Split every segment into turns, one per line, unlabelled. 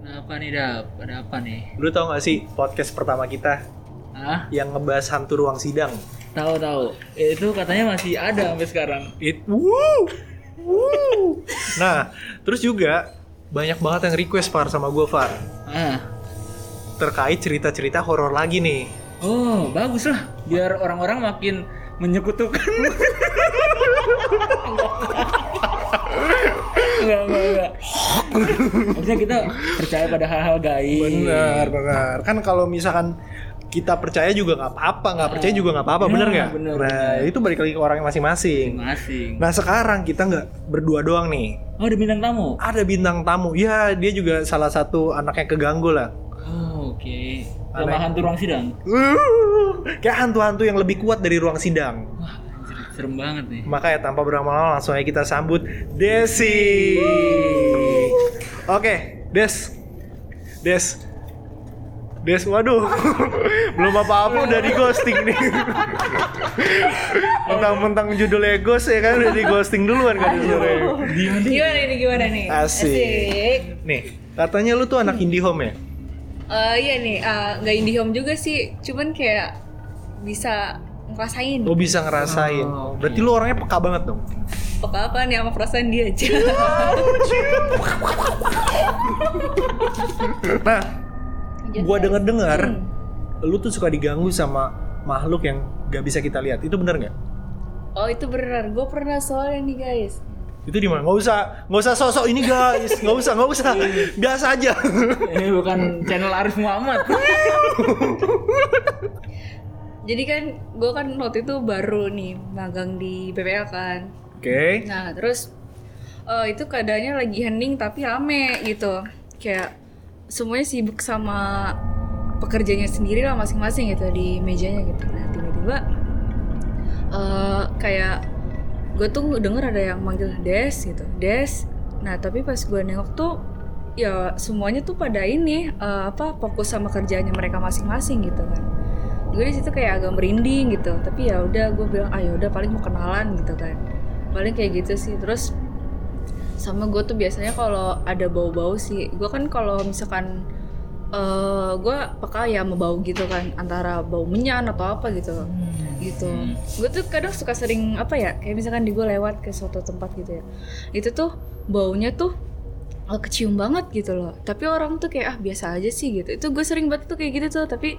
Apa nih Dap? Ada apa nih?
Lu tau gak sih podcast pertama kita
Ah,
yang ngebahas hantu ruang sidang?
tahu tahu. Itu katanya masih ada sampai sekarang.
It, wuh, wuh. nah, terus juga banyak banget yang request Far sama gue Far
Ah.
terkait cerita-cerita horor lagi nih.
Oh, bagus lah. Biar orang-orang makin menyekutukan. Enggak, enggak, enggak. Maksudnya kita percaya pada hal-hal gaib.
Bener, bener. Kan kalau misalkan kita percaya juga nggak apa-apa, nggak percaya juga nggak apa-apa,
Ya,
bener nggak?
bener,
Nah, itu balik lagi ke orangnya masing-masing.
Masing-masing.
Nah, sekarang kita nggak berdua doang nih.
Oh, ada bintang tamu.
Ada bintang tamu. Ya, dia juga salah satu anaknya keganggu lah.
Oh, oke.
Aneh.
Sama hantu ruang sidang.
Uh, kayak hantu-hantu yang lebih kuat dari ruang sidang.
Wah, anjir, serem banget nih.
Makanya tanpa berlama-lama langsung aja kita sambut Desi. Oke, Des. Des. Des, waduh. Belum apa-apa udah di ghosting nih. Mentang-mentang judulnya ghost ya kan udah di ghosting duluan kan sebenarnya.
Gimana ini gimana nih?
Asik. Nih, katanya lu tuh anak indie home ya?
Eh, iya nih, eh, nggak indie home juga sih, cuman kayak bisa ngerasain
Lu bisa ngerasain.
Oh, oke.
Berarti lu orangnya peka banget dong.
apa-apa nih ya, sama perasaan dia aja.
Nah,
Lanjut,
gua
guys.
denger-dengar
Hmm.
lu tuh suka diganggu sama makhluk yang gak bisa kita lihat. Itu bener nggak?
Oh itu benar, gue pernah soalnya nih guys.
Itu di mana? Nggak usah, nggak usah sosok ini guys. Nggak usah, nggak usah. Biasa aja.
Ini Eh, bukan channel Arif Muhammad.
Jadi kan gue kan waktu itu baru nih magang di BPL kan.
Oke.
Nah terus eh, itu keadaannya lagi hening tapi rame gitu. Kayak semuanya sibuk sama pekerjanya sendiri lah masing-masing gitu di mejanya gitu. Nah tiba-tiba eh, kayak gue tuh denger ada yang manggil Des gitu, Des. Nah tapi pas gue nengok tuh ya semuanya tuh pada ini eh, apa fokus sama kerjaannya mereka masing-masing gitu kan. Gue di situ kayak agak merinding gitu, tapi ya udah gue bilang ayo udah paling mau kenalan gitu kan. Paling kayak gitu sih. Terus sama gue tuh biasanya kalau ada bau-bau sih, gue kan kalau misalkan eh gue peka ya sama bau gitu kan antara bau menyan atau apa gitu gitu
Hmm.
gue tuh kadang suka sering apa ya kayak misalkan di gue lewat ke suatu tempat gitu ya itu tuh baunya tuh eh, kecium banget gitu loh tapi orang tuh kayak ah biasa aja sih gitu itu gue sering banget tuh kayak gitu tuh tapi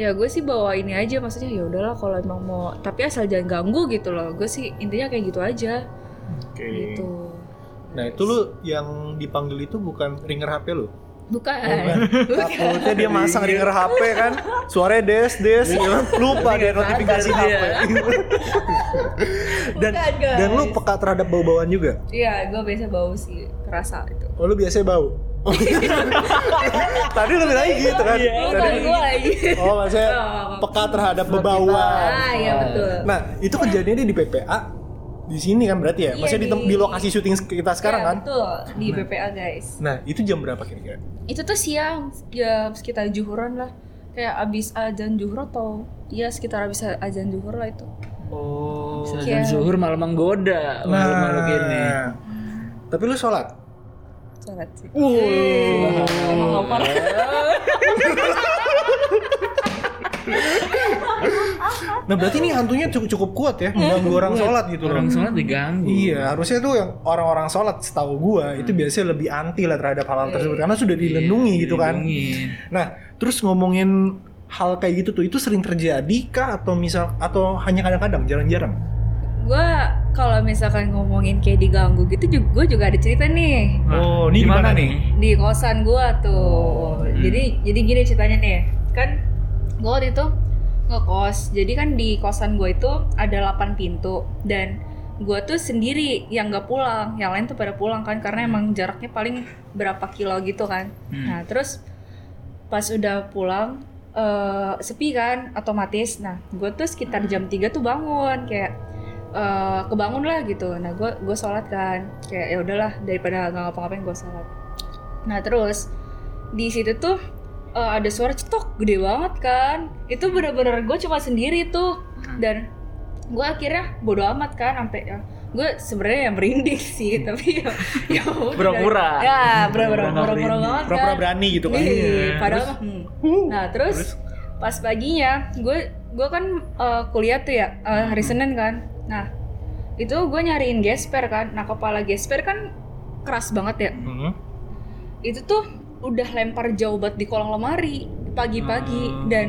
ya gue sih bawa ini aja maksudnya ya udahlah kalau emang mau tapi asal jangan ganggu gitu loh gue sih intinya kayak gitu aja
Oke.
gitu
Nah itu lu yang dipanggil itu bukan ringer HP lu?
bukan
Takutnya dia masang ringer HP kan Suaranya des des ya kan? Lupa dia notifikasi
sadar dia.
HP Dan
Bukan, guys.
dan lu peka terhadap bau-bauan juga?
iya gue biasa bau sih kerasa gitu. itu
Oh lu biasanya bau? Tadi lu bilang gitu kan?
Iya.
Tadi,
bukan gue lagi
oh maksudnya
Oh.
peka terhadap bebauan
ah iya betul
Nah itu kejadiannya di PPA di sini kan berarti ya?
Iya,
Maksudnya di, tem-
di-
di lokasi syuting kita sekarang
Iya,
kan?
betul di BPA guys
Nah itu jam berapa kira-kira?
itu tuh siang ya sekitar juhuran lah kayak abis azan juhur atau ya sekitar abis azan juhur lah itu
Oh
Bisa
Iya.
jam zuhur malah menggoda
Nah.
makhluk-makhluk ini.
Tapi lu sholat?
sholat sih
Nah berarti ini hantunya cukup cukup kuat ya mengganggu orang sholat gitu loh.
Orang sholat diganggu.
Iya harusnya tuh yang orang-orang sholat setahu gua itu biasanya lebih anti lah terhadap hal-hal tersebut karena Hmm.
Iya,
sudah dilindungi gitu kan.
Dilindungin.
Nah terus ngomongin hal kayak gitu tuh itu sering terjadi kah atau misal atau hanya kadang-kadang jarang-jarang?
gue kalau misalkan ngomongin kayak diganggu gitu juga gue juga ada cerita nih
Wah,
Oh, ini
Nah,
gimana
gimana
nih?
di kosan gue tuh
Hmm.
jadi jadi gini ceritanya nih kan gue waktu itu ngekos jadi kan di kosan gue itu ada 8 pintu dan gue tuh sendiri yang nggak pulang yang lain tuh pada pulang kan karena emang jaraknya paling berapa kilo gitu kan
Hmm.
Nah, terus pas udah pulang eh, sepi kan otomatis. Nah, gue tuh sekitar jam 3 tuh bangun kayak eh, kebangun lah gitu. Nah, gue gue sholat kan kayak ya udahlah daripada nggak ngapa-ngapain gue sholat. Nah, terus di situ tuh eh, ada suara cetok gede banget kan. Itu
Hmm.
bener-bener gue cuma sendiri tuh dan gue akhirnya bodo amat kan sampai ya, gue sebenarnya ya merinding sih tapi ya ya udah.
Pura-pura.
ya pura-pura
Pura-pura nggak merinding.
pura-pura banget kan.
Pura-pura berani gitu kan.
Iya,
Iya.
padahal
Terus?
hmm.
Huh.
nah terus,
Terus?
pas paginya gue gue kan eh, kuliah tuh ya eh, hari
Hmm.
Senin kan nah itu gue nyariin gesper kan nah kepala gesper kan keras banget ya
Hmm.
itu tuh udah lempar jauh banget di kolong lemari pagi-pagi
Hmm.
dan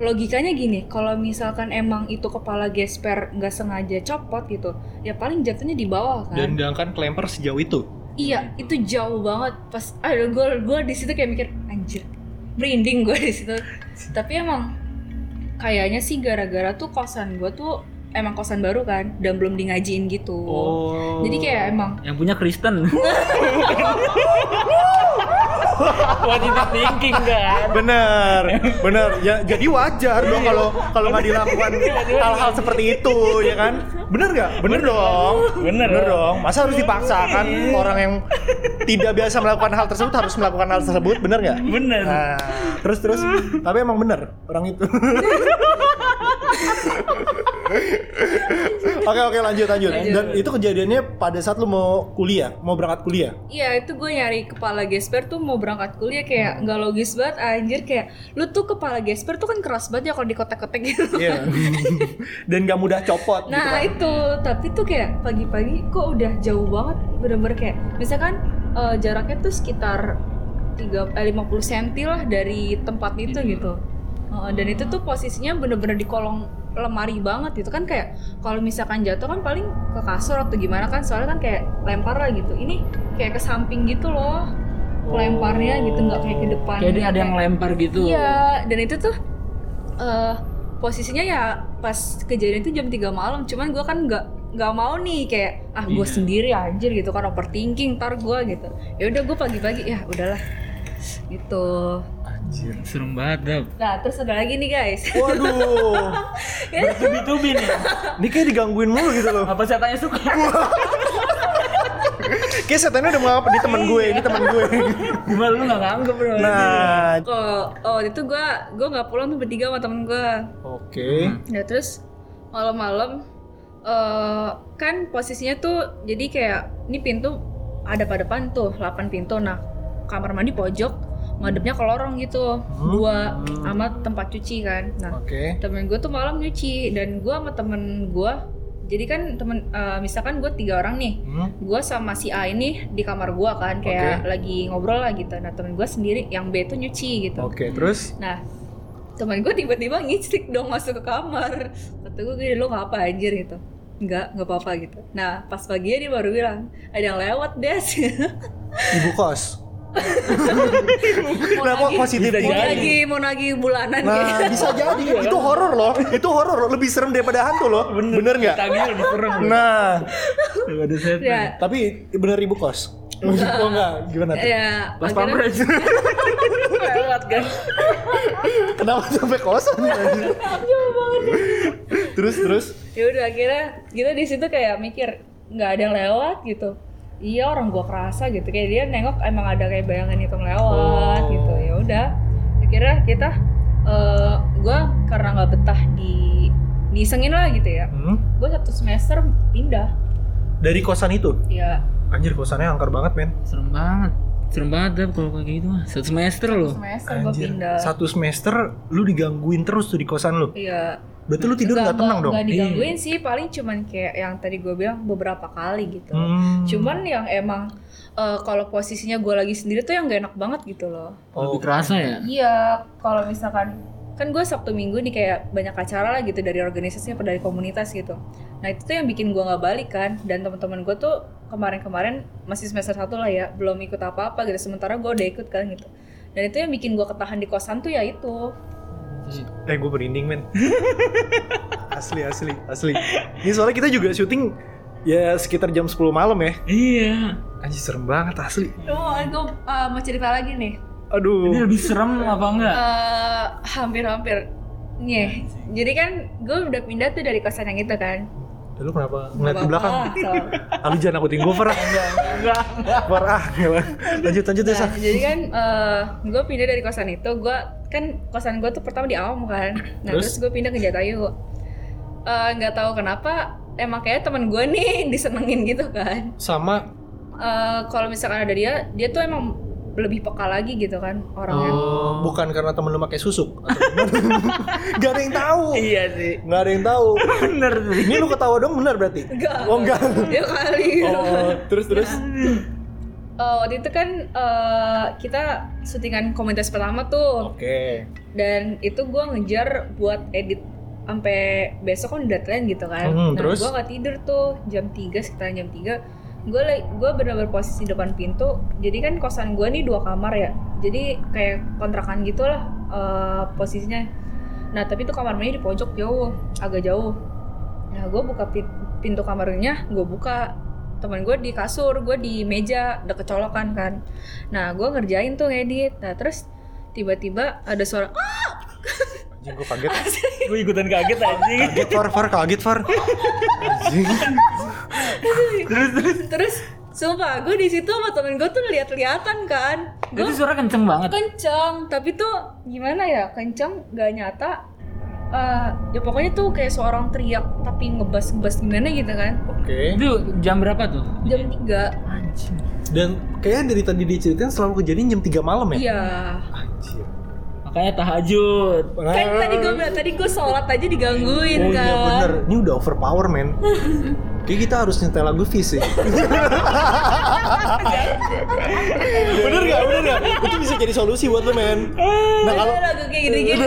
logikanya gini kalau misalkan emang itu kepala gesper nggak sengaja copot gitu ya paling jatuhnya di bawah kan
Dan diangkat kelempar sejauh itu.
iya itu jauh banget pas ah, aduh gue gue di situ kayak mikir anjir merinding gue di situ tapi emang kayaknya sih gara-gara tuh kosan gue tuh emang kosan baru kan dan belum di ngajiin gitu
Oh.
jadi kayak emang
Yang punya Kristen. Positive thinking kan.
Bener, bener. Ya, jadi wajar dong kalau kalau nggak dilakukan hal-hal seperti itu, ya kan? Bener nggak? Bener, dong.
Bener
dong. Masa harus dipaksakan orang yang tidak biasa melakukan hal tersebut harus melakukan hal tersebut, bener nggak?
Bener.
Nah, terus terus. Tapi emang bener orang itu. oke oke lanjut lanjut. Dan itu kejadiannya pada saat lu mau kuliah, mau berangkat kuliah.
Iya itu gue nyari kepala gesper tuh mau berangkat kuliah kayak nggak logis banget anjir kayak lu tuh kepala gesper tuh kan keras banget ya kalau dikotak-kotak gitu.
Iya. Dan gak mudah copot. gitu
Nah
kan.
itu tapi tuh kayak pagi-pagi kok udah jauh banget bener-bener kayak misalkan eh, jaraknya tuh sekitar 3, eh, 50 cm lah dari tempat itu
Hmm.
gitu. Eh, dan itu tuh posisinya bener-bener di kolong lemari banget gitu kan kayak kalau misalkan jatuh kan paling ke kasur atau gimana kan soalnya kan kayak lempar lah gitu ini kayak ke samping gitu loh lemparnya gitu nggak kayak ke depan
Kayak dia ada yang lempar gitu.
Iya, dan itu tuh eh posisinya ya pas kejadian itu jam 3 malam. Cuman gua kan nggak nggak mau nih kayak ah gue
Iya.
sendiri anjir gitu kan overthinking ntar gue gitu. Ya udah gue pagi-pagi ya udahlah gitu.
Anjir.
Serem banget, Dap.
Nah terus ada lagi nih guys.
Waduh.
Bertubi-tubi nih.
Ini kayak digangguin mulu gitu loh.
Apa setannya suka?
Kayak setannya udah mengapa di temen gue, ini temen gue.
Gimana lu gak nganggep bro?
Nah,
Kok oh itu gue gue nggak pulang tuh bertiga sama temen gue.
oke.
Ya terus malam-malam eh kan posisinya tuh jadi kayak ini pintu ada pada depan tuh 8 pintu. Nah, kamar mandi pojok ngadepnya ke lorong gitu. Gua sama tempat cuci kan. Nah,
Oke.
temen gue tuh malam nyuci dan gua sama temen gua jadi kan temen eh, misalkan gue tiga orang nih
Hmm.
gue sama si A ini di kamar gua kan kayak lagi ngobrol lah gitu nah temen gue sendiri yang B tuh nyuci gitu
Oke, terus
Nah, teman gue tiba-tiba ngicik dong masuk ke kamar. Kata gue gini, lo ngapa anjir gitu. Enggak, enggak apa-apa gitu. Nah, pas paginya dia baru bilang, ada yang lewat, Des.
ibu kos.
mau
Nah, kok
nagih-
positif
Bisa jadi.
mau
thinking?
nagih, mau nagih bulanan gitu.
Nah, bisa jadi itu horor loh. Itu horor loh, lebih serem daripada hantu loh. Bener, nggak?
Tadi lu diserem.
Nah,
Gak ada setan.
Ya,
tapi bener ibu kos. Oh enggak, gimana tuh?
ya,
Pas
akhirnya-
pamres. Lewat kan.
Kenapa sampai kosong? anjir? terus terus
ya udah akhirnya kita di situ kayak mikir nggak ada yang lewat gitu iya orang gua kerasa gitu kayak dia nengok emang ada kayak bayangan hitam lewat
Oh.
gitu ya udah akhirnya kita eh gua karena nggak betah di disengin lah gitu ya
Hmm?
gua satu semester pindah
dari kosan itu.
ya
Anjir kosannya angker banget, men.
Serem banget. Serem banget, Dap, kalau kayak gitu mah. Satu semester
satu
loh.
semester Kan gua
Anjir,
pindah
satu semester lu digangguin terus tuh di kosan lu.
Iya,
Berarti lu tidur nggak tenang dong?
Gak digangguin sih, paling cuman kayak yang tadi gua bilang beberapa kali gitu.
Hmm.
Cuman yang emang eh, kalau posisinya gua lagi sendiri tuh yang gak enak banget gitu loh.
Oh,
Lebih terasa ya?
Iya, kalau misalkan kan gue Sabtu Minggu nih kayak banyak acara lah gitu dari organisasi apa dari komunitas gitu. Nah itu tuh yang bikin gua nggak balik kan dan teman-teman gue tuh kemarin-kemarin masih semester satu lah ya belum ikut apa-apa gitu sementara gue udah ikut kan gitu. Dan itu yang bikin gua ketahan di kosan tuh ya itu.
Iya.
Eh gue merinding men Asli asli asli Ini soalnya kita juga syuting Ya sekitar jam 10 malam ya
Iya.
Anjir serem banget asli
Oh, gue mau cerita lagi nih.
Ini
Aduh
lebih serem apa enggak?
Eh, hampir-hampir. Nih, jadi kan gue udah pindah tuh dari kosan yang itu kan.
Eh, Lu kenapa ngeliat ke belakang?
Bapak lah, so.
Ah, Lu jangan nakutin gue Farah Farah ah, gila. Lanjut lanjut ya
Nah,
Sah
jadi kan gue pindah dari kosan itu, gue kan kosan gue tuh pertama di Awam kan. Nah terus,
Terus?
gue pindah ke Jatayu. Eh, Nggak tahu kenapa emang kayak teman gue nih disenengin gitu kan
sama
Eh, kalau misalkan ada dia dia tuh emang lebih peka lagi gitu kan orangnya
Oh.
bukan karena temen lu pakai susuk atau gimana. Gak ada yang tahu.
Iya sih.
Gak ada yang tahu.
Bener sih.
Ini lu ketawa dong bener berarti.
enggak Iya.
Oh enggak.
ya kali
Oh, terus terus.
Eh, waktu itu kan eh, kita syutingan komunitas pertama tuh
Oke.
dan itu gue ngejar buat edit sampai besok kan deadline gitu kan
Hmm,
nah
terus?
gue nggak tidur tuh jam 3 sekitar jam 3 gue gue benar-benar posisi depan pintu jadi kan kosan gue nih dua kamar ya jadi kayak kontrakan gitulah eh, posisinya nah tapi itu kamar mandi di pojok jauh agak jauh nah gue buka pi- pintu kamarnya gue buka teman gue di kasur gue di meja udah kecolokan kan nah gue ngerjain tuh ngedit nah terus tiba-tiba ada suara
Anjing gue kaget.
Gue ikutan kaget anjing.
Kaget Far, Far kaget Far. Anjing.
Terus terus.
terus sumpah gue di situ sama temen gue tuh lihat-lihatan kan
Itu
gue
suara kenceng banget.
kenceng tapi tuh gimana ya kenceng gak nyata Eh, ya pokoknya tuh kayak seorang teriak tapi ngebas-ngebas gimana gitu kan
Oke.
Itu jam berapa tuh?
jam 3
Anjing.
Dan kayaknya dari tadi diceritain selalu kejadian jam 3 malam ya?
iya
Anjir.
Makanya tahajud.
kan tadi gue bilang tadi gue sholat aja digangguin
Oh
kan
iya bener, ini udah overpower men Kayaknya kita harus nyetel lagu Fizz sih Bener gak? Bener gak? Itu bisa jadi solusi buat lu men Nah kalau
Ada lagu kayak gini-gini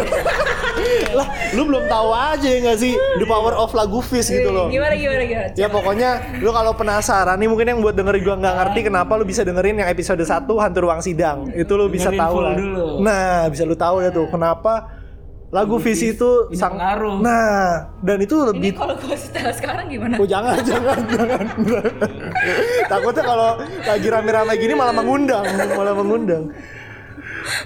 lah lu belum tahu aja ya gak sih The power of lagu Fizz gitu loh
gimana gimana gimana
Ya
Iya.
pokoknya lu kalau penasaran nih mungkin yang buat dengerin gua nggak ngerti kenapa lu bisa dengerin yang episode 1 Hantu Ruang Sidang. Itu lu bisa
Dengerin
tahu
full
lah.
dulu.
Nah, bisa lu tahu ya tuh kenapa lagu Visi itu
punya
sang
pengaruh.
Nah, dan itu
ini
lebih
kalau gue setel sekarang gimana
Oh jangan, jangan, jangan. Takutnya kalau lagi rame-rame gini malah mengundang, malah mengundang.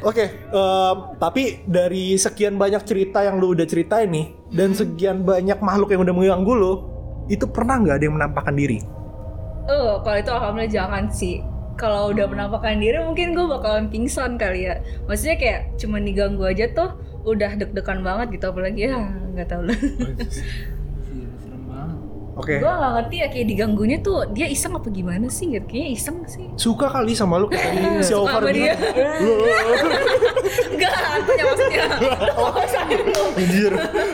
Oke, em, tapi dari sekian banyak cerita yang lu udah ceritain nih, dan sekian banyak makhluk yang udah mengganggu lu, itu pernah nggak ada yang menampakkan diri?
Eh, kalau itu alhamdulillah jangan sih. Kalau udah menampakkan diri mungkin gue bakalan pingsan kali ya. Maksudnya kayak cuman diganggu aja tuh udah deg-degan banget gitu apalagi ya nggak tahu lah.
Anjir, serem banget.
Oke,
gue nggak ngerti ya kayak diganggunya tuh dia iseng apa gimana sih? Gitu. Kayaknya iseng sih.
suka kali sama lu kayak si
Suka
Over
sama dia.
bilang, "Loh,
Enggak, artinya maksudnya.
anjir,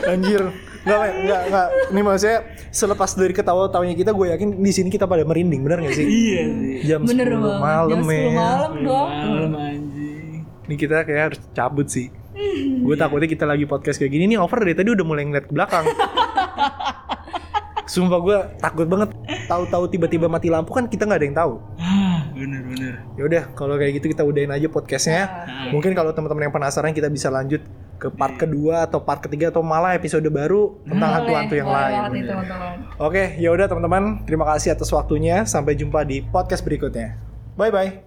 anjir. Nggak, men, nggak, nggak. Ini maksudnya selepas dari ketawa-tawanya kita, gue yakin di sini kita pada merinding, bener nggak sih?
Iya sih.
Jam
Bener
10
banget.
malam,
Jam 10
men.
malam dong.
Malam anjing.
Ini kita kayak harus cabut sih. Gue takutnya kita lagi podcast kayak gini nih over dari tadi udah mulai ngeliat ke belakang. Sumpah gue takut banget. Tahu-tahu tiba-tiba mati lampu kan kita nggak ada yang tahu.
Hah, bener bener.
Ya udah kalau kayak gitu kita udahin aja podcastnya.
Ah,
Mungkin kalau teman-teman yang penasaran kita bisa lanjut ke part kedua atau part ketiga atau malah episode baru tentang hantu-hantu yang
Boleh
lain.
banget nih, teman-teman.
Oke, ya udah teman-teman, terima kasih atas waktunya. Sampai jumpa di podcast berikutnya. Bye bye.